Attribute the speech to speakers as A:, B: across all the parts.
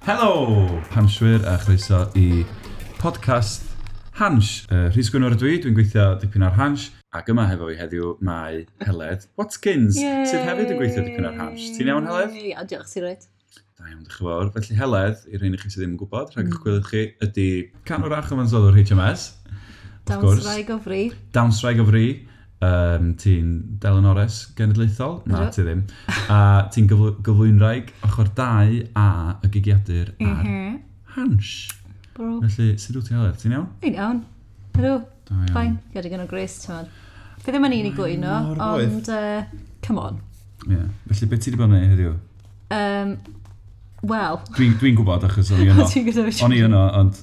A: Helo! Hanswyr a chroeso i podcast Hans. Uh, Rhys Gwynor ydw i, dwi'n gweithio dipyn ar Hans. Ac yma hefo i heddiw mae Heled Watkins, sydd hefyd yn gweithio dipyn ar Hans. Ti'n iawn, Heled?
B: Ie, a diolch ti'n rhaid.
A: Da iawn, diolch yn fawr. Felly Heled, i'r rhain i chi sydd ddim yn gwybod, rhag eich gwylioch chi, ydy can o'r ach o fansoddwr HMS. Of course.
B: Dawnsrau gofri.
A: Downsraig o fri, um, ti'n Delyn Ores genedlaethol? Na,
B: Ydw.
A: ti ddim. A ti'n gyfl- gyflwynraig ochr 2 a y gigiadur ar
B: Mhm.
A: Hans.
B: Bro.
A: Felly, sut wyt ti'n heledd? Ti'n iawn?
B: Ein iawn. Hello.
A: Da iawn. Mm,
B: Fain. Ie, di gynnal Grace, ti'n fawr. Fe ddim yn un i gwyno,
C: mor boeth.
B: ond... uh, Come on.
A: Ie. Felly, beth ti wedi bod yn ei heddiw?
B: Um, Wel,
A: Dwi'n dwi gwybod achos o'n i yno.
B: ti'n gyda fi
A: O'n i yno, ond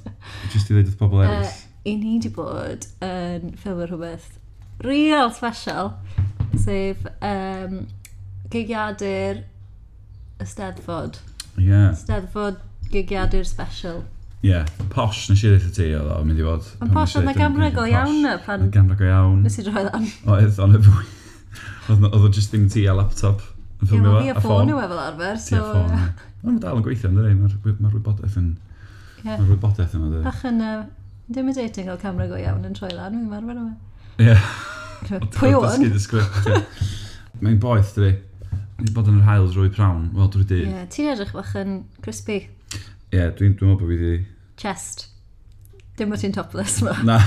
A: jyst i ddweud wrth pobl
B: Yy,
A: eraill.
B: I ni wedi bod yn ffilmio rhywbeth real special, sef um, gigiadur Ysteddfod.
A: Ie.
B: Ysteddfod gigiadur special.
A: Ie. Posh nes i ddeitha ti oedd o'n mynd i fod.
B: Ond posh, oedd na gamrego iawn na pan
A: Oedd gamrego iawn.
B: nes i droi ddan.
A: Oedd o'n y fwy. Oedd o jyst ddim ti a laptop yn
B: Ie,
A: ffilmio
B: mae
A: fo,
B: fi
A: a
B: a ffôn
A: ffôn.
B: yw efo arfer, so...
A: Tua ffôn. Mae'n dal yn gweithio, ynddo ni? Mae'r ma wybodaeth yn...
B: Ie.
A: Mae'r wybodaeth yn dod.
B: Bach yn... yy, intimidating o camera go iawn yn troi lan, mi'n marfer yma.
A: Ie.
B: Pwy o'n?
A: Dysgu dy sgript. ie. Mae'n boeth, dwi. Ni bod yn yr hael drwy prawn, wel drwy dydd. Ie,
B: Ie, ti'n edrych bach yn crispy.
A: dwi'n dwi'n meddwl bod fi wedi...
B: Chest. Dim bod ti'n topless ma.
A: Na.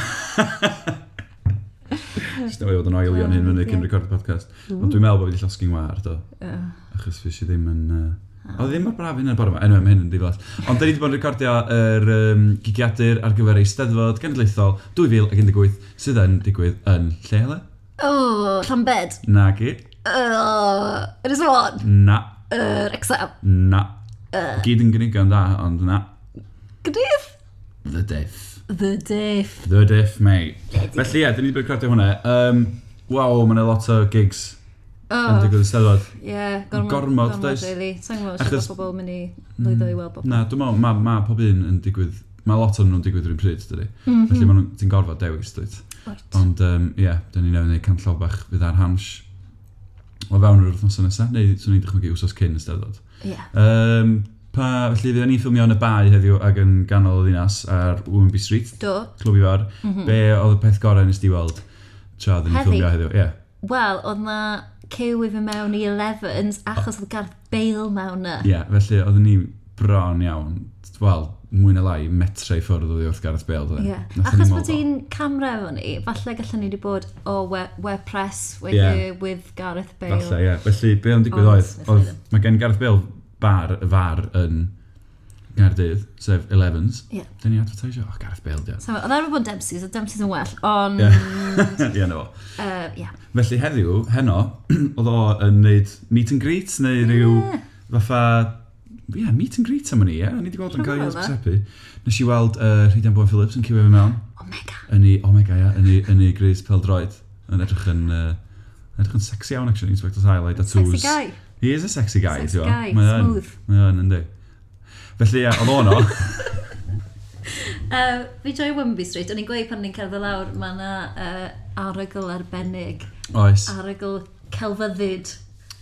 A: Just newid bod yn oelio yn hyn fyny cyn
B: Ie.
A: record y podcast. Ond dwi'n meddwl bod fi wedi llosgu'n war, do.
B: Yy,
A: Achos fi eisiau ddim yn... Uh... O, ddim ar braf hyn yn y bore yma. Enw, mae hyn yn diflas. Ond da ni wedi bod yn recordio yr um, gigiadur ar gyfer ei steddfod genedlaethol 2018 sydd yn digwydd yn e. lle hele?
B: O, Llanbed.
A: Na gi.
B: Uh, Ynys Môn.
A: Na.
B: Uh, Rexham.
A: Na. Gyd yn gynigion da, ond na.
B: Gryff.
A: The diff.
B: The Diff.
A: The diff, mate. Felly ie, da ni wedi bod yn recordio hwnna. Um, Waw, mae'n lot o gigs yn
B: Oh,
A: digwydd y steddfod.
B: ie, gormod.
A: Gormod, does?
B: really. Sa'n gwybod
A: Achos-
B: sydd o bobl mynd i lwyddo i weld bobl.
A: Na, dwi'n meddwl, mae ma pob un yn digwydd... Mae lot o'n nhw'n digwydd rhywun pryd, dydy. Felly ma' nhw'n- ti'n gorfod dewis, dwi'n.
B: Wrt.
A: Ond, um, ie, yeah, da ni newydd wneud canllaw bach fydd ar hans o fewn yr wythnos nesaf, neu swn i'n dychmygu wsos cyn ysteddod.
B: Ie.
A: Um, pa, felly, fydden ni'n ffilmio yn y bai heddiw ac yn ganol y ddinas ar Womanby Street,
B: Do.
A: clwb i far. Be oedd y peth gorau nes di weld tra oedden ni'n
B: Heddi?
A: ffilmio heddiw? Ie.
B: Wel, oedd na cyw i fy mewn i 11s achos oedd Gareth Bale mewn na.
A: Ie, felly oedden ni bron iawn, wel, mwy na lai, metra i ffwrdd o ddiwrth Gareth Bale. doedden.
B: Ie.
A: Nathon ni
B: Achos
A: mold o.
B: bod ti'n camera efo ni, falle gallwn ni wedi bod o we, we press with,
A: Ie.
B: you, with Gareth Bale.
A: Falle, ie. Felly, be o'n digwydd
B: Ond,
A: oedd,
B: felly
A: oedd,
B: ddim.
A: mae gen Gareth Bale bar, y far yn Gaerdydd, sef Elevens.
B: Ie.
A: Dyn ni advertisio, o, Gareth Bale, dio.
B: So, oedd ar bod Dempsey's, oedd Dempsey's yn well, ond...
A: Ie.
B: Ie.
A: Ie, no.
B: Uh, yeah.
A: Felly, heddiw, heno, oedd o yn neud meet and greet, neu rhyw
B: Ie.
A: fatha... Ie, yeah, meet and greet am ni, ie. Yeah. Ni wedi gweld yn cael ei
B: Rhyfedd, e?
A: ysbysebu. Nes i weld uh, Rhidian Bowen Phillips yn cywio fi mewn.
B: Omega.
A: Yn ei, oh my god, ie, yn ei, yn ei Gris Peldroed. Yn edrych yn... Uh, edrych yn sexy iawn, actually, Inspector Highlight, tattoos.
B: Sexy guy.
A: He is a sexy guy,
B: Sexy
A: ti'n
B: guy, smooth.
A: Mae o'n, yndi. Felly, ie, oedd o'n o.
B: Uh, fi joi Wimby Street, o'n i'n gweud pan ni'n cerdded lawr, mae yna uh, arygl arbennig,
A: Oes.
B: arygl celfyddyd.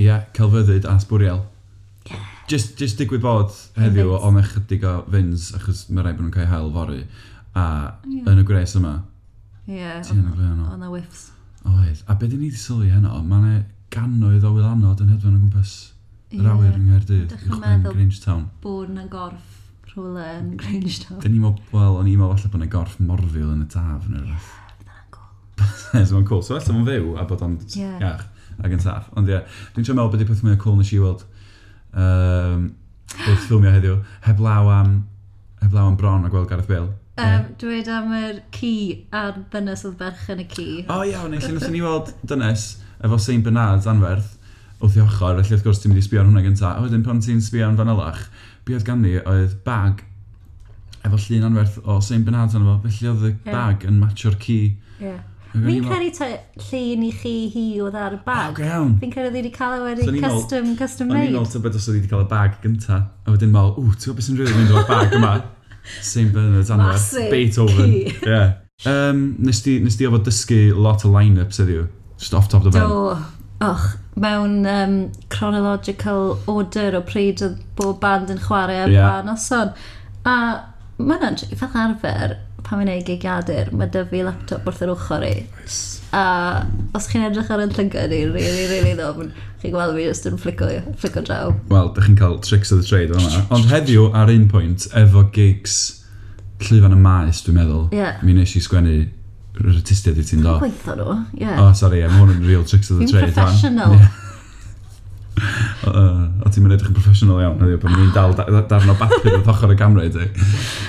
A: Ie, celfyddyd a sbwriel. Just, just digwydd bod heddiw
B: Events.
A: o mech ydig o fyns, achos mae rhaid bod nhw'n cael hael fory. A yn y gwres yma, ti'n
B: Ie, yeah,
A: yna fe yno.
B: o'n na whiffs.
A: Oedd. A beth i ni wedi sylwi heno, mae yna ganoedd o wylanod yn hedfan o gwmpas yr
B: Ie.
A: awyr yng Nghaerdydd,
B: Dych chi'n
A: uwchben
B: meddwl-
A: Grange Town.
B: Bod na gorff rhywle yn Grangetown.
A: Dyn ni'n meddwl, wel, o'n i'n meddwl falle bod yna gorff morfil yn y taf neu rhywbeth. Ie, so mae'n cool. So ella mae'n fyw a bod o'n
B: Ie.
A: yeah. iach ac yn saff. Ond ie, dwi'n trio meddwl beth yw peth mwyaf cool nes i weld um, wrth ffilmio heddiw. Heb law am, heb law am bron a gweld Gareth Bale.
B: Um, Dweud am yr ci a'r dynes oedd berch yn y ci.
A: O oh, iawn, neu lle wnaethon ni weld dynes efo Saint Bernard's anferth wrth i ochr, felly wrth gwrs ti'n mynd i sbio ar hwnna gynta. A wedyn pan ti'n sbio am fanylach, be oedd ganddi oedd bag efo llun anferth o Saint Bernard's arno fo, felly oedd y
B: Ie.
A: bag yn matcho'r ci.
B: Ie.
A: Ac o'n
B: Fi'n
A: i'n meddwl,
B: credu ta llun i chi hi oedd ar y
A: "Ah,
B: bag.
A: Go iawn.
B: Fi'n credu wedi cael ei
A: So
B: e wedi
A: ni'n ôl-
B: custom, custom
A: O'n i'n
B: made.
A: meddwl tybed os oedd wedi cael y bag gynta, a wedyn meddwl, ww, ti'n gwybod beth sy'n rili mynd o'r bag yma? St Bernard's Anwerth,
B: Massive
A: Beethoven.
B: key.
A: Yeah. Um, nes, di, nes di ofod dysgu lot o line-ups eddiw, just off top the
B: Do,
A: ben.
B: Och, mewn um, chronological order o pryd oedd bob band yn chwarae ar
A: Ie.
B: yeah. noson. A mae'n edrych, fel arfer, pan mae'n ei gigadur, mae dy fi laptop wrth yr ochr i. A os chi'n edrych ar yn llygad ni, really, really ddofn, chi'n gweld fi jyst yn flico, flico draw.
A: Wel, dych chi'n cael tricks of the trade o'n yma. Ond heddiw, ar un pwynt, efo gigs llwyfan y maes, dwi'n meddwl,
B: Ie.
A: mi nes i sgwennu yr artistiaid i ti'n do.
B: Gweithio nhw, ie.
A: O, oh, sori, yeah, mae hwn yn real tricks of the
B: Fi'n
A: trade. wan.
B: professional.
A: Ie. O, yy, O ti'n mynd edrych yn professional iawn, heddiw, pan ni'n dal da- da- darn o bapur wrth ochr y gamra i ti.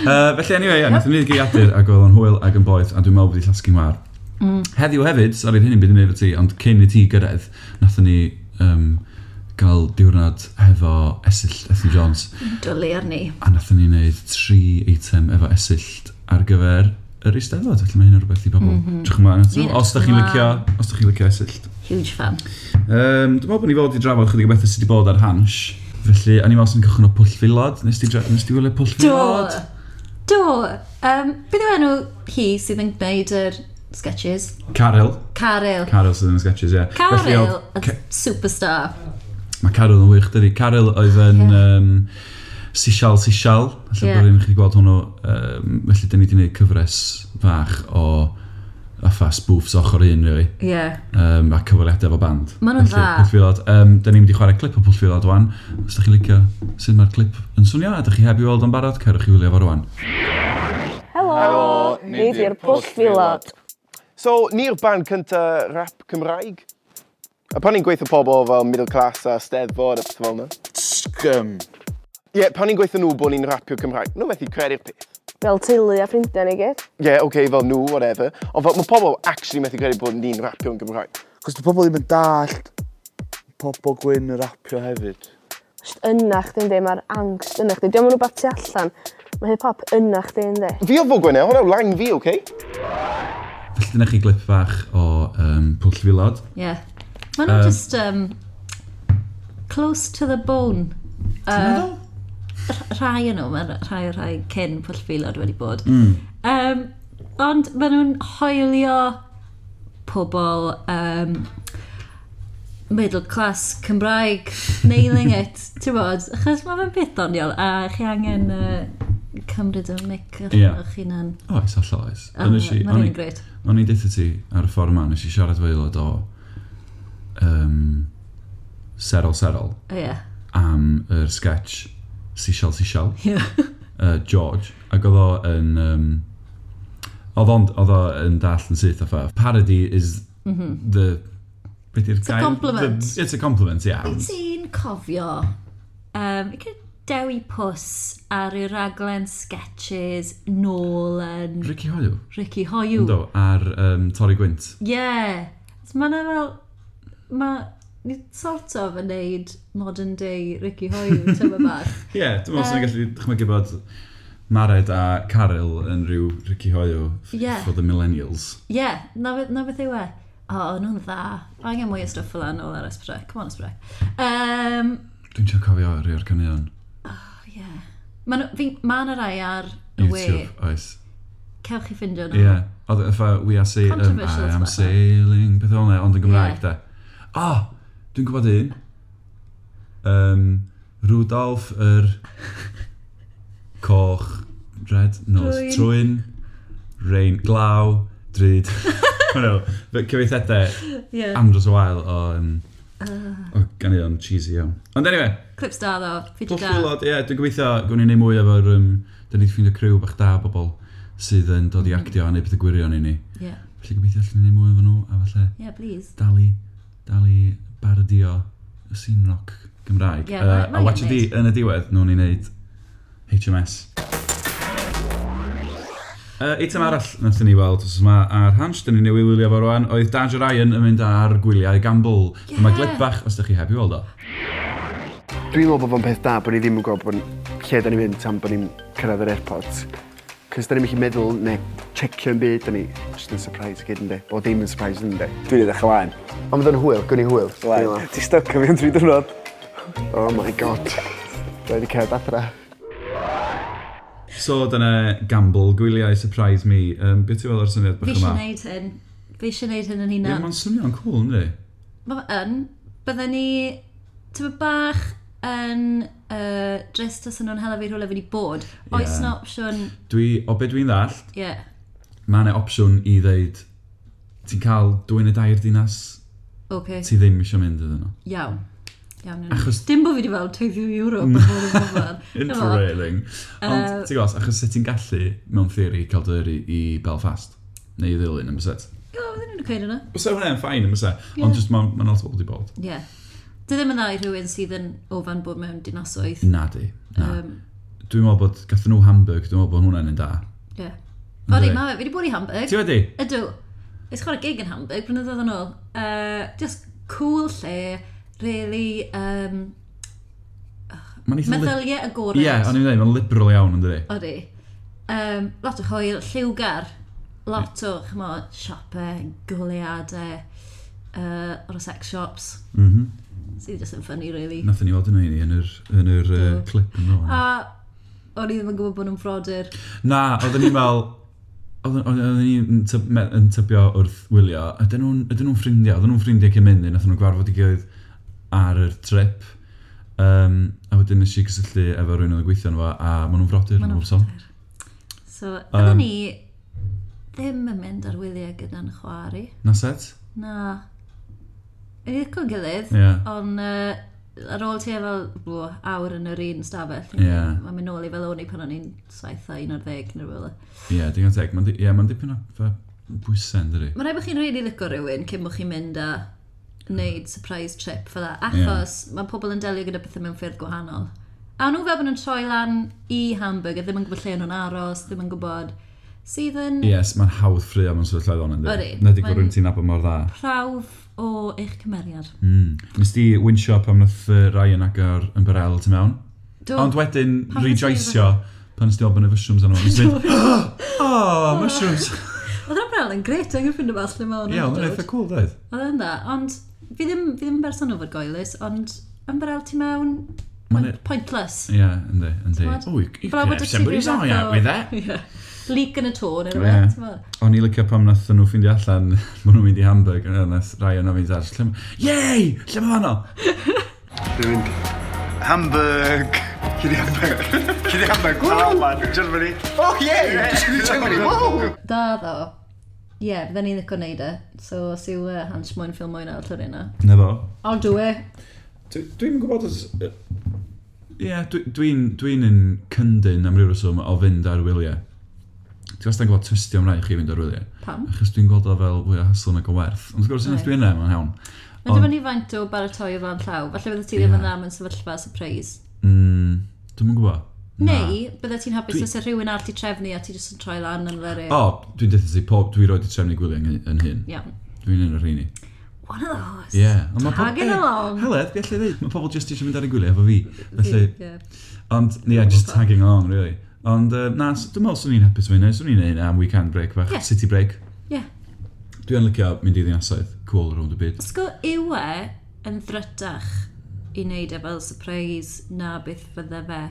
A: Uh, felly, anyway, ie, nath ni'n geiadur ac oedd o'n hwyl ac yn boeth, a dwi'n meddwl bod i llasgu mar.
B: Mm.
A: Heddiw hefyd, sori, hyn yn byd i wneud efo ti, ond cyn i ti gyrraedd, nath ni um, gael diwrnod hefo Esill, Ethan Jones,
B: Dwlu arni.
A: a nath ni wneud tri eitem efo Esill ar gyfer yr eisteddfod, felly mae hyn yn rhywbeth i bobl. Mm -hmm. Trwch ymlaen atyn nhw,
B: Mhm. Ie,
A: os da chi'n
B: waw.
A: licio, os da chi'n licio Esill.
B: Huge fan.
A: Um, dwi'n meddwl bod ni fod i drafod chydig o bethau sydd wedi bod ar hans. Felly, a ni meddwl sy'n cychwyn o pwll filod. Nes ti, dra- nes ti wylio pwll
B: Do!
A: filod?
B: Do! Um, Bydd yw enw hi sydd yn gwneud yr sketches?
A: Caryl.
B: Caryl.
A: Caryl sydd yn y sketches, ie. Felly
B: Caryl,
A: oedd-
B: y
A: Ca-
B: superstar.
A: Mae Caryl yn wych, dydi. Caryl oedd yn
B: Ie.
A: um, sisial sisial. Alla
B: Ie.
A: yeah. bod rhywun chi gweld hwnnw. Um, felly, da ni wedi gwneud cyfres fach o affa spoofs ochr un, really.
B: Ie. Yeah.
A: Um, a cyfweliadau efo band.
B: Ma' nhw'n dda.
A: Pwll filod. Um, da ni'n mynd i chwarae clip o pwll filod wan. Os da chi'n licio sut mae'r clip yn swnio, a da chi heb i weld o'n barod, cerwch i wylio fo rwan.
C: Helo,
D: ni 'di'r Pwll Filod. So, ni'r band cynta rap Cymraeg. A pan ni'n gweithio pobl fel middle class a steddfod a pethau fel yna.
C: Scum.
D: Ie, yeah, pan ni'n gweithio nhw bod ni'n rapio Cymraeg, nhw methu credu'r peth.
E: Fel teulu a ffrindiau ni gyd.
D: Ie, yeah, oce, okay, fel nhw, whatever. Ond fel, mae pobl actually methu credu bod ni'n rapio yn Gymraeg.
C: Cos dy pobl ddim yn dallt pobl gwyn y rapio hefyd.
E: Jyst yna chdi ynddi, mae'r angst yna chdi. Diolch yn rhywbeth tu allan. Mae hip-hop yna chdi ynddi.
D: Fi o fo gwenna, hwnna yw line fi, oce? Okay?
A: Felly dyna chi glip fach o um, pwll filod.
B: Yeah. Mae nhw'n
A: Yym.
B: just um, close to the bone. Uh, rhai yn nhw, mae rhai o rhai cyn pwll filod wedi bod. Mm. Um, ond mae nhw'n hoelio pobl um, middle class Cymraeg, nailing it, ti'n bod? Achos mae fe'n beth doniol a chi angen uh, cymryd y mic ar
A: Ie.
B: eich hunan.
A: Oes, allai oes.
B: A
A: Ond nes i-
B: Mae'n
A: o'n i-
B: un gred.
A: O'n i deitha ti ar y ffordd yma, nes i siarad fo aelod o um, Serol Serol
B: Ie.
A: am yr sketch Seashell Seashell,
B: Ie.
A: uh, George, ac oedd o yn... Um, oedd o'n- oedd o yn dall yn syth o ffa. Parody is the... Be di'r
B: Mhm. a
A: gair?
B: compliment.
A: The- It's a compliment, ia.
B: Ti'n cofio um, gyda Dewi Pws ar y raglen sketches nôl yn
A: Ricky Hoyw.
B: Ricky Hoyw. Ie.
A: Do, ar um, Torri Gwynt.
B: Yeah. So Mae yna fel... Mae ni sort of yn neud modern day Ricky Hoyw, tyma bach.
A: Ie, yeah, dwi'n meddwl sy'n gallu chmygu bod Mared a Caryl yn rhyw Ricky Hoyw f-
B: Ie.
A: for the millennials.
B: Ie, yeah, na, be- na beth yw e. O, oh, nhw'n dda. O, angen mwy o stwff fel anol ar Ysbrec. Come on, Ysbrec. Um,
A: Dwi'n siarad cofio rhai o'r cynnion.
B: yeah. Mae yna rai ar y we.
A: YouTube, oes.
B: Cewch chi ffindio nhw.
A: Ie, yeah. oedd efo We Are Sailing, um,
B: Controversial
A: I
B: as
A: Am
B: well.
A: Sailing, beth o'n e, ond yn Gymraeg,
B: Ie.
A: da. O, dwi'n gwybod un. Um, Rudolf yr Coch, Red, Nos,
B: Drwyn.
A: Trwyn, Rain, Glaw, Dryd. Cyfeithedau
B: Yeah.
A: andros o wael o, um,
B: Ah.
A: o ganeuon cheesy iawn. Ond anyway,
B: Clips da ddo. Fideo
A: Pwll
B: da.
A: Gwylod, ie, dwi'n gobeithio gwn i'n neud mwy efo'r... Um, da ni wedi ffeindio criw bach da o bobl sydd yn dod
B: Mm.
A: i actio a neud pethau gwirion i ni.
B: Yeah.
A: Felly gobeithio allwn ni neud mwy efo nhw a falle
B: Yeah, please.
A: dalu, dalu baradio y scene rock Gymraeg.
B: Ie,
A: Yy,
B: ma- ma'
A: a watch
B: angen
A: di yn y diwedd, nhw'n i wneud HMS. Uh, eitem arall nath ni weld os yma ar Hans, dyn ni'n ei wylio fo rwan, oedd Danger Ryan yn mynd ar gwyliau gamble.
B: Ie.
A: Mae glip bach os ydych chi heb i weld o.
F: Dwi'n meddwl bod fo'n peth da bod ni ddim yn gweld bod ni- lle da ni'n mynd tan bod ni'n cyrraedd yr airport. Cys da ni'n mynd i meddwl neu checio'n byd, da ni just yn surprise i gyd yn de. O ddim yn surprise yn de.
C: Dwi'n edrych ymlaen.
F: Ond fydd yn hwyl, gwn i hwyl. Dwi'n meddwl.
C: Ti stuck yn fi am tri diwrnod.
F: Oh my god. Dwi'n wedi cyrraedd adra.
A: So dyna gamble, gwyliau, surprise me. Um, Beth ti'n feddwl o'r syniad bach
B: Fi eisiau
A: yma?
B: gwneud hyn. Fi eisiau gwneud hyn yn
A: Ie,
B: hunan.
A: mae'n swnio'n cool, ynddi?
B: ma' fe yn, bydden ni, ti'n bod bach yn uh, drist os yn nhw'n hela fi rhywle fi wedi bod. Oes
A: Ie.
B: na opsiwn,
A: Dwi, o be dwi'n ddallt,
B: ie. Yeah.
A: mae yna opsiwn i ddeud, ti'n cael dwy'n y dair dinas,
B: Oce, okay.
A: ti ddim eisiau mynd iddyn nhw.
B: iawn. Iawn,
A: Achos-
B: Achos... Dim bod fi wedi fel 20 euro bod yn gofyn.
A: Interrailing. Ond,
B: Yy,
A: ti'n gwrs, achos sut ti'n gallu, mewn theori, cael dyri i Belfast, neu i ddilyn, yn byset.
B: Ie, bydden nhw'n gweud yna.
A: Bysa hwnna'n ffain, yn byset,
B: Ie.
A: ond just mae'n ma lot o bobl wedi bod.
B: Ie. Dwi ddim yn dda i rhywun sydd yn ofan bod mewn dinasoedd.
A: Na di, na.
B: Yym,
A: Dwi'n meddwl bod gathen nhw Hamburg, dwi'n meddwl bod hwnna'n un da.
B: Ie. Ori,
A: Yndi.
B: mae fe, fi wedi bod i Hamburg.
A: Ti wedi?
B: Ydw. Ys chwarae gig yn Hamburg, blynyddoedd yn ôl. Uh, just cool lle, really, um,
A: Mae'n eitha... lib-
B: meddyliau agored.
A: Ie, o'n i'n dweud, mae'n liberal iawn, yn dydi?
B: Ori. Um, lot o hwyl, lliwgar. Lot o, chymo, siopau, gwleiadau, uh, o'r sex shops.
A: Mhm.
B: Sydd just yn ffynnu, really.
A: Nathen ni weld yn ei yn yr, yn yr uh,
B: Do.
A: clip yn ôl.
B: A, o'n i ddim yn gwybod bod nhw'n frodyr.
A: Na, oedden ni'n fel... oedden- Oedden ni'n tyb- me- yn tybio wrth wylio, ydyn nhw'n ydyn nhw'n ffrindiau, oedden nhw'n ffrindiau cyn mynd, nath nhw'n gwarfod i gilydd ar yr trip. Um, a wedyn nes i gysylltu efo rhywun oedd yn gweithio yn fo, a maen nhw'n frodyr,
B: Ma'
A: maen
B: nhw'n
A: nhw'n sôn.
B: frodyr. So,
A: Yym.
B: bydden ni ddim yn mynd ar wyliau gyda'n chwari.
A: Na set?
B: Na. Yn iddyn gilydd,
A: Ie.
B: ond uh, ar ôl ti fel bw, awr yn yr un stafell,
A: Ie.
B: mae'n mynd nôl i fel o'n i pan o'n i'n saith a un o'r ddeg neu rhywle.
A: Ie, digon teg. Ma'n di- Ie, ma'n dipyn o fe- bwysau, yn dydi?
B: Mae'n rhaid bod chi'n rili licio rhywun cyn bod chi'n mynd a wneud surprise trip fel that, achos yeah. mae pobl yn delio gyda pethau mewn ffyrdd gwahanol. A nhw fel bod nhw'n troi lan i Hamburg a ddim yn gwybod lle nhw'n aros, ddim yn gwybod sydd yn
A: Ie, s- mae'n hawdd ffrio mewn sefyllfa o'n yn dydi?
B: Ydi,
A: Na di gwrdd
B: ma'n-
A: rhywun ti'n nabod mor dda.
B: prawf o eich cymeriad.
A: Mm. Nes di winsio pam nath yy, Ryan agor yn barel ti mewn?
B: Do,
A: Ond wedyn
B: Pan nes i
A: rejoicio pan ysdi bod yn y mushrooms arno. Nes i fynd, oh, mushrooms.
B: Oedd yna brawl yn gret, angen ffind yma lle mae hwnna'n
A: Ie, yeah, mae'n
B: dod.
A: eitha cool, dweud.
B: Oedd yn dda, ond fi ddim, fi ddim yn berson o fod goelus, ond yn barel ti mewn
A: Ma'n
B: point-
A: e-
B: pointless.
A: Ie, yndi, yndi.
B: T'mod?
A: Oh, you you
B: Fel
A: can
B: bod y
A: have somebody's
B: TV
A: eye
B: fath
A: out
B: o-
A: with that.
B: Ie. Leak yn y to, neu
A: Ie.
B: rhywbeth, ti'n meddwl?
A: O'n i licio pam nath nhw ffindi allan bod nhw'n mynd i Hamburg a nath Ryan o'n fynd ar. Yey! Lle mae fanno?
F: Dwi'n mynd... Hamburg! Cyd i Hamburg! Cyd i Hamburg! Oh, man! Germany! Oh, yeah! Germany! Wow!
B: Da ddo. Ie, yeah, fydden i'n ddico neud e. So, os yw uh, hans mwyn ffilm mwyn arall ar yna.
A: Na fo.
B: I'll do it.
A: Dwi- Dwi'n gwybod os... Ie, yeah, dwi- dwi'n dwi yn cyndyn am ryw reswm o fynd ar wyliau. Ti'n gwastan gwybod tystio am rai chi fynd ar wyliau.
B: Pam?
A: Achos dwi'n gweld o fel fwy o hasl nag o werth. Ond wrth gwrs, unwaith
B: Right.
A: dwi'n yna, mae'n hawn.
B: Mae'n
A: Ond-
B: dibynnu faint o baratoi o fan llaw. Falle bydde ti ddim yn dda mewn sefyllfa surprise.
A: Mm, dwi'n mwyn gwybod.
B: Neu, bydde ti'n hapus
A: Dwi-
B: os y rhywun arall ti trefnu a ti jyst yn troi lan yn dderu.
A: O, dwi'n dweud ti, pob, dwi'n rhoi di trefnu gwyliau yn, yn hyn.
B: Iawn.
A: Dwi'n un o'r rheini.
B: One of those.
A: Ie. ond ma' pob-
B: Tagging
A: eh,
B: along.
A: Heledd, fi allai ddeud, mae pobl jyst eisiau mynd ar y gwyliau efo fi. Felly,
B: Ie.
A: ond, ie, yeah, just tagging along, really. Ond, uh, na, s- dwi'n meddwl swn i'n hapus fe hynny, swn i'n neud am weekend break fach,
B: Ie.
A: city break.
B: Ie.
A: Dwi'n licio mynd i ddinasoedd, cool around the byd.
B: Ysgol yw e yn ddrytach i wneud e fel surprise na beth fydde fe?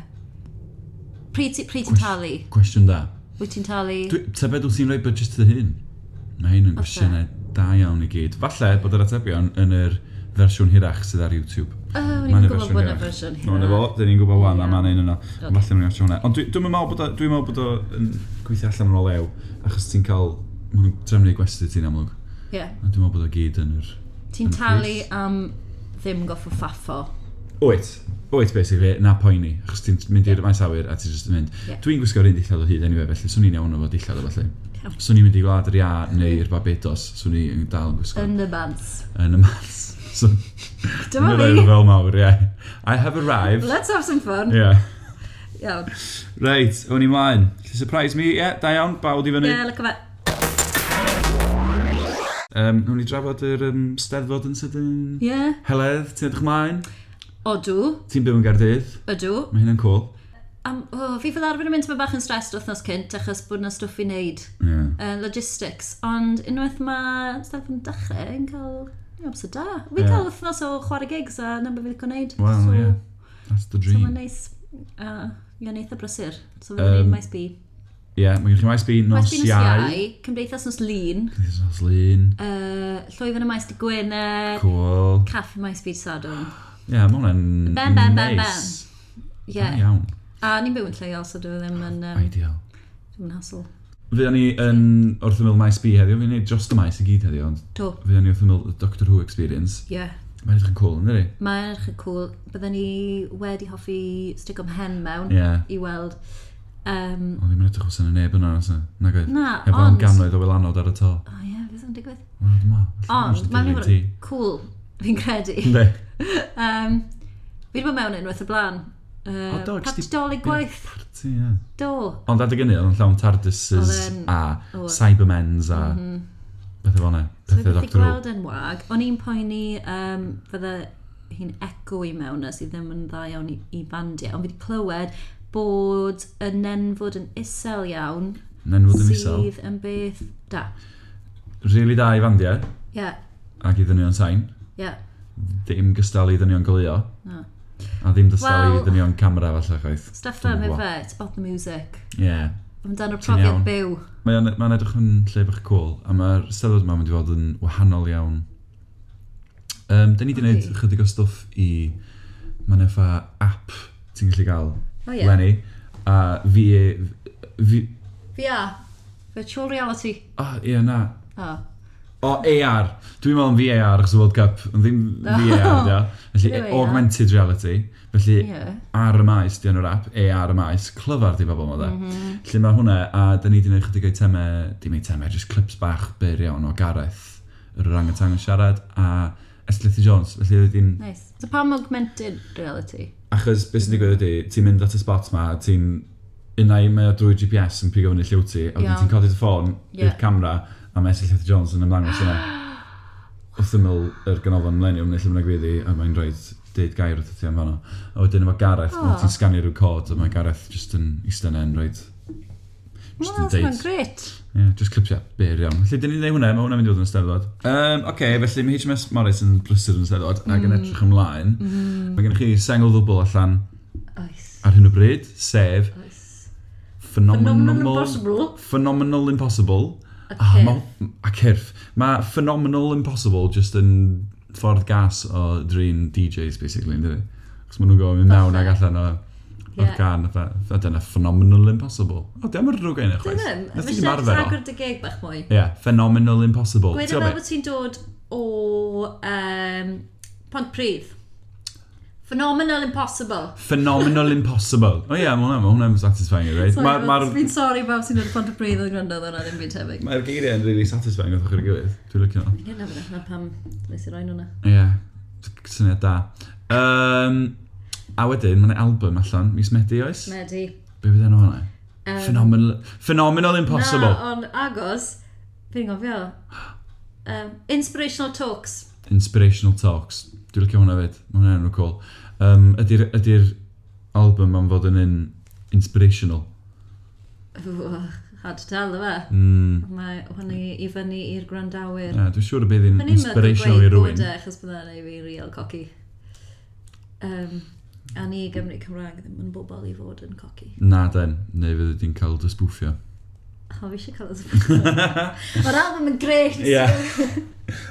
B: Pryd ti- pryd ti'n talu?
A: Cwestiwn da.
B: Wyt ti'n talu?
A: Dwi- Ta beth wyt ti'n rhoi budget dy hyn? Mae hyn yn gwestiynau da iawn i gyd. Falle bod yr atebion yn yr fersiwn hirach sydd ar YouTube.
B: O,
A: Ma'
B: ni'n
A: na
B: gwybod bod yna
A: hirach.
B: fersiwn
A: Ma' na fo, dyn ni'n gwybod wan, a
B: Ie.
A: mae'n un yno.
B: Ocê.
A: Falle mae'n gwestiwn hwnna. Ond dwi- dwi'm yn meddwl bod o- dwi'n meddwl bod o'n gweithio allan yn o lew, achos ti'n cael... Mae'n trefnu gwesti ti'n amlwg.
B: Ie.
A: A dwi'n meddwl bod o gyd yn yr...
B: Ti'n
A: yn y
B: talu
A: pris.
B: am ddim goffo faffo.
A: Wyt. Wyt, basically, na poeni. Achos ti'n mynd i'r maes awyr a ti'n just yn mynd.
B: Ie.
A: Dwi'n gwisgo rhan dillad o hyd, anyway, felly, swn i'n iawn o fo dillad o felly.
B: Iawn.
A: Swn i'n mynd i gwlad yr ia neu'r Barbados, swn i'n dal yn gwisgo
B: Yn y bants.
A: yn y mas. So,
B: Dyma
A: Yn yr
B: fi.
A: fel mawr, ie. I have arrived.
B: Let's have some fun.
A: Ie.
B: Iawn.
A: Reit, o'n i mlaen. Lly surprise me, ie, yeah, da iawn, bawd i fyny.
B: Ie, lyco fe.
A: Um, Nw'n i drafod yr um, steddfod yn sydyn.
B: Ie.
A: Heledd, ti'n edrych mlaen?
B: Odw.
A: Ti'n byw yn Gardydd?
B: Ydw.
A: Mae hyn yn cool.
B: Am, o, fi fel arfer yn mynd yma bach yn stressed wythnos cynt achos bod yna stwff i wneud.
A: Ie.
B: uh, logistics, ond unwaith mae staff yn dechrau yn cael yn amser da. Fi'n
A: Ie.
B: cael wythnos o chwarae gigs a na beth fi'n gwneud.
A: Wel, ie. That's the
B: So mae'n
A: dream.
B: neis. Uh, Ia'n eitha brysur. So fydden um,
A: Yym,
B: ni'n maes B.
A: Ie, mae gennych chi maes B nos
B: Maes Binws
A: Iau.
B: Iau, Cymdeithas Nos Lun,
A: Cymdeithas nos lun.
B: uh, Llwyfan y Maes Di Gwynedd,
A: Cool.
B: Caffi Maes Byd Sadwn.
A: Ie, mae hwnna'n
B: Ben, ben, ben,
A: nice.
B: Ie,
A: Da
B: yeah.
A: Iawn.
B: a ni'n byw yn lleol, so dwi ddim yn, um,
A: Ideal.
B: ddim yn hasl.
A: Fydda ni yn wrth ymwyl maes B heddiw, fydda ni just y maes i gyd heddiw, ond
B: Do,
A: fydda ni wrth ymwyl Doctor Who experience.
B: ie. Yeah.
A: Mae'n edrych yn cool, yn dydi?
B: Mae'n edrych yn cool. Byddwn ni wedi hoffi stick o'm hen mewn
A: Ie.
B: i weld. Um,
A: Ond ddim yn edrych os yna neb yna, os yna. Nag oedd.
B: na,
A: Efo am
B: ond...
A: gannoedd o wylanod ar y to.
B: O ie, beth yn digwydd?
A: Wel, dyma.
B: Ond, mae'n mynd i fod
A: ti.
B: yn cool, fi'n credu.
A: Ne.
B: Um, fi wedi bod mewn unwaith y blaen. Uh,
A: O, do, jyst i-
B: Pat dolig gwaith,
A: Parti, ie.
B: do.
A: Ond adeg yna, oedd yn llawn Tardises
B: Oedd e'n-
A: a
B: oedd. Mhm.
A: Cybermens a bethau fel yna.
B: So fi
A: Bethau
B: wedi
A: Doctor Who.
B: gweld yn wag. O'n i'n poeni um, fydde hi'n eco i mewn a sydd ddim yn dda iawn i, i bandiau. Ond fi wedi clywed bod y nenfod yn isel iawn
A: Nen fod yn isel.
B: Sydd yn beth da.
A: Rili da i fandiau,
B: Ie,
A: ac i ddynion sain.
B: ie.
A: Dim gystal i ddynion goleo.
B: Na.
A: A ddim gystal i
B: Wel-
A: ddynion camera falle chwaith.
B: Stuff fel
A: Dwi'm yn
B: mae
A: gwbo.
B: fe, it's about the music.
A: Ie.
B: Amdano'r
A: Ti'n iawn.
B: profiad byw.
A: Mae'n mae edrych yn lle bach cool, a mae'r steddod yma wedi bod yn wahanol iawn. Um, Dyn ni wedi gwneud
B: Ydi.
A: chydig o stwff i... Mae'n effa app ti'n gallu gael,
B: O ie.
A: Lenny. A fi... e- fi
B: VR. Virtual reality.
A: oh, ie, na.
B: O.
A: O, AR. Dwi'n meddwl yn VAR, achos y World Cup, yn ddim
B: O.
A: VAR, da. Felly, e,
B: Ddim VAR.
A: augmented reality. Felly,
B: Ie.
A: ar y maes, di enw'r app, AR y maes, clyfar di bobl ma da.
B: Mhm.
A: Lle mae hwnna, a da ni di wneud chydig o'i temau, dim ei temau, jyst clips bach byr iawn o Gareth, yr orangatang yn siarad, a Eslithi Jones. Felly wedi'n,
B: Nice. So pam augmented reality?
A: achos beth sy'n digwydd ydy, ti'n mynd at y spot ma, ti'n unai mae o drwy GPS yn pigo fyny lliw ti, a wedyn
B: Iawn.
A: ti'n codi dy ffôn
B: Ie.
A: i'r camera, a mae Eslithi Jones yn ymddangos yna. Wrth ymwyl yr ganolfan millennium neu lle mae'n gwyddi, a mae'n rhoi deud gair wrth ti am fanno. A wedyn efo Gareth, oh.
B: O.
A: ti'n sganio rhyw cod, a mae Gareth jyst yn eistedd yna'n rhoi... Jyst
B: Wel,
A: yn
B: that's
A: deud.
B: not great.
A: Ie, yeah, just clipio byr iawn. Felly, dyn ni'n gwneud hwnna, mae hwnna'n mynd i fod yn ysteddfod. Um, Oce, okay, felly mae HMS Morris yn brysur yn ysteddfod mm. ac yn edrych ymlaen.
B: Mm-hmm.
A: Mm. Mae gennych chi sengl ddwbl allan
B: Oes.
A: ar hyn o bryd, sef
B: Oes.
A: Phenomenal,
B: Phenomenal Impossible.
A: Phenomenal Impossible.
B: A
A: Ah,
B: cyrff.
A: ma- A cyrff. Mae Phenomenal Impossible just yn ffordd gas o drin DJs, basically, yn dweud. Chos maen nhw'n gofyn mynd mewn ac allan o... O'r
B: Ie.
A: gan, a fe- a dyna Phenomenal Impossible. O, dim yn rhywbeth yna, chwaith.
B: Dyna,
A: Nes
B: mae
A: ti ddim
B: eisiau
A: arfer o.
B: agor dy geg bach mwy.
A: Ie, yeah, Phenomenal Impossible.
B: Gwyd
A: Ti'n
B: fel
A: gwbod
B: bod ti'n dod o um, Pont Prydd. Phenomenal impossible.
A: Phenomenal Impossible. O ie, yeah, mae hwnna, ma hwnna'n satisfying, right?
B: Sorry,
A: Mae'r ma,
B: ma, fi'n sorry bawb sy'n dod o Pont y Prydd o'r gwrando ddod na ddim byd tebyg.
A: ma geiriau yn really satisfying oedd ochr y gilydd. Dwi'n lycio nhw.
B: Ie, na fyna, na pam nes i roi'n hwnna.
A: Ie, yeah, syniad da. Um, a wedyn, mae'n album allan, mis Medi oes?
B: Medi.
A: Be fydd enw hwnna?
B: Yym,
A: Phenomenal, Phenomenal Impossible.
B: Na, ond agos, fi'n gofio. Um, inspirational talks.
A: Inspirational Talks. Dwi'n lycio hwnna fyd. Mae hwnna'n enw cool. Um, Ydy'r ydy album am fod yn un inspirational?
B: Ww, Hard to tell, yma.
A: Mm.
B: Mae hwnni i fyny i'r
A: Ie,
B: grandawyr.
A: yeah, dwi'n siŵr y bydd un
B: Fy'n i'n meddwl
A: inspirational i
B: gweud bod
A: rywun.
B: e, achos bydda neu fi real cocky. Um, a ni Gymru Cymraeg ddim yn bobl i fod yn cocky.
A: Na den, neu fydd ydy'n cael dy spwffio.
B: O, fi eisiau cael ysbryd. Mae'r album yn greit.
A: Ie.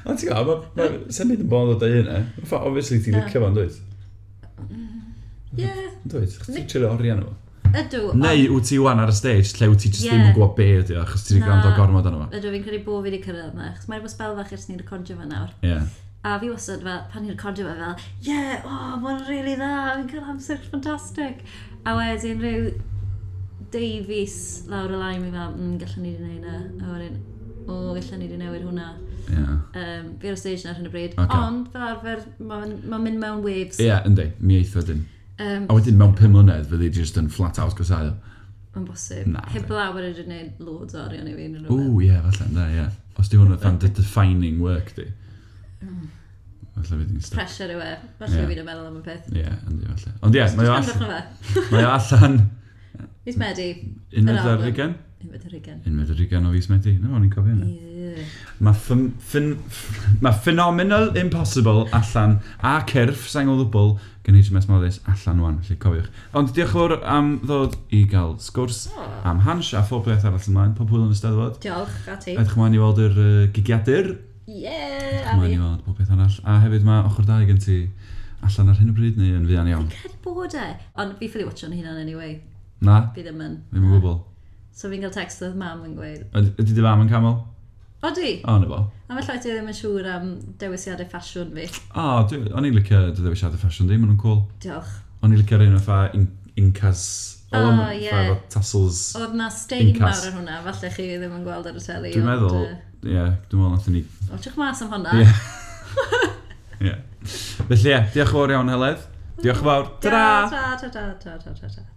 A: Ond ti'n gwybod, sy'n byd yn bod o da un e. Obviously ti'n
B: Na.
A: licio fo'n dweud.
B: Ie,
A: Dweud, ti'n trio oriau nhw.
B: ydw. ond-
A: Neu wyt ti wan ar y stage lle wyt ti just
B: Ie.
A: ddim yn gwybod be ydy o, achos ti wedi
B: Na.
A: gwrando gormod arno fo.
B: Ydw, fi'n credu bod fi wedi cyrraedd yna, achos mae'n bod spel fach ers ni'n recordio fe nawr.
A: Ie.
B: A fi wastad fel, pan i'n recordio fe fel, ie, yeah, o, oh, mae'n really dda, fi'n cael amser ffantastig. A wedyn rhyw Davies lawr y lai, mi fel, mm, gallwn ni wedi gwneud yna. A wedyn, o, gallwn ni wedi newid hwnna.
A: Ie.
B: Um, fi ar y stage yna ar hyn o bryd.
A: Ocê.
B: Ond, fel arfer, mae'n ma mynd mewn waves.
A: Ie, yndi, mi eitho dyn.
B: Um,
A: A wedyn mewn 5 mlynedd fyddi just yn flat out gosau.
B: Mae'n bosib.
A: Na,
B: Heb
A: fe-
B: law wedi gwneud loads o arian i fi yn rhywbeth.
A: Ww, ie, falle, ynddo, ie. Os di hwn yn dy defining work di.
B: Mm.
A: Falle fydd hi'n stuck.
B: Pressure yw e. Felly
A: Ie.
B: yeah. fi'n meddwl am y peth.
A: Ie, yndi, falle. Ond ie, mae o
B: Andrwch
A: allan.
B: na fe.
A: Mae o allan.
B: Mis Medi.
A: Unwed
B: Yr
A: ar
B: album.
A: hugen?
B: Unwaith yr hugen.
A: Unwed ar hugen o fis Medi. Na, o'n i'n cofio hynna.
B: Ie.
A: Mae ffyn, ffyn, ma Phenomenal Impossible allan a Cyrff Sengol Ddwbl gan HMS Morris allan wan, felly cofiwch. Ond diolch yn fawr am ddod i gael sgwrs am Hans a phob beth arall ymlaen, pob hwyl yn y steddfod.
B: Diolch a ti.
A: Edrych ymlaen i weld yr uh, gigiadur,
B: Ie, a
A: ymlaen
B: fi.
A: i weld pob beth arall. A hefyd mae ochr dau gen ti allan ar hyn o bryd neu yn fuan iawn.
B: Cedi bod e. Ond fi ffili watcho'n hunan anyway.
A: Na,
B: Fi ddim yn.
A: ddim yn gwbl.
B: So fi'n cael text oedd mam yn gweud.
A: Yd- Ydy dy fam yn camel?
B: O di?
A: O, na fo.
B: A mae llaeth i ddim yn siŵr am dewisiadau ffasiwn fi.
A: O, dwi- o'n i'n licio dy ddewisiadau ffasiwn di, maen nhw'n cool.
B: Diolch.
A: O'n i'n licio'r un o ffa in- incas.
B: O,
A: Oh,
B: Ah, ie.
A: yeah. Ffa efo tassels.
B: Oedd na stein
A: Incas.
B: mawr yn hwnna, falle chi ddim yn gweld ar y teli.
A: Dwi'n
B: ond,
A: meddwl, ie, yeah, dwi'n meddwl nathon ni...
B: yy, Watchwch mas am hwnna.
A: Ie. Ie. Felly ie, diolch yn fawr iawn, Heledd. Diolch yn fawr. Ta-da!
B: Ta, ta, ta, ta, ta, ta, ta.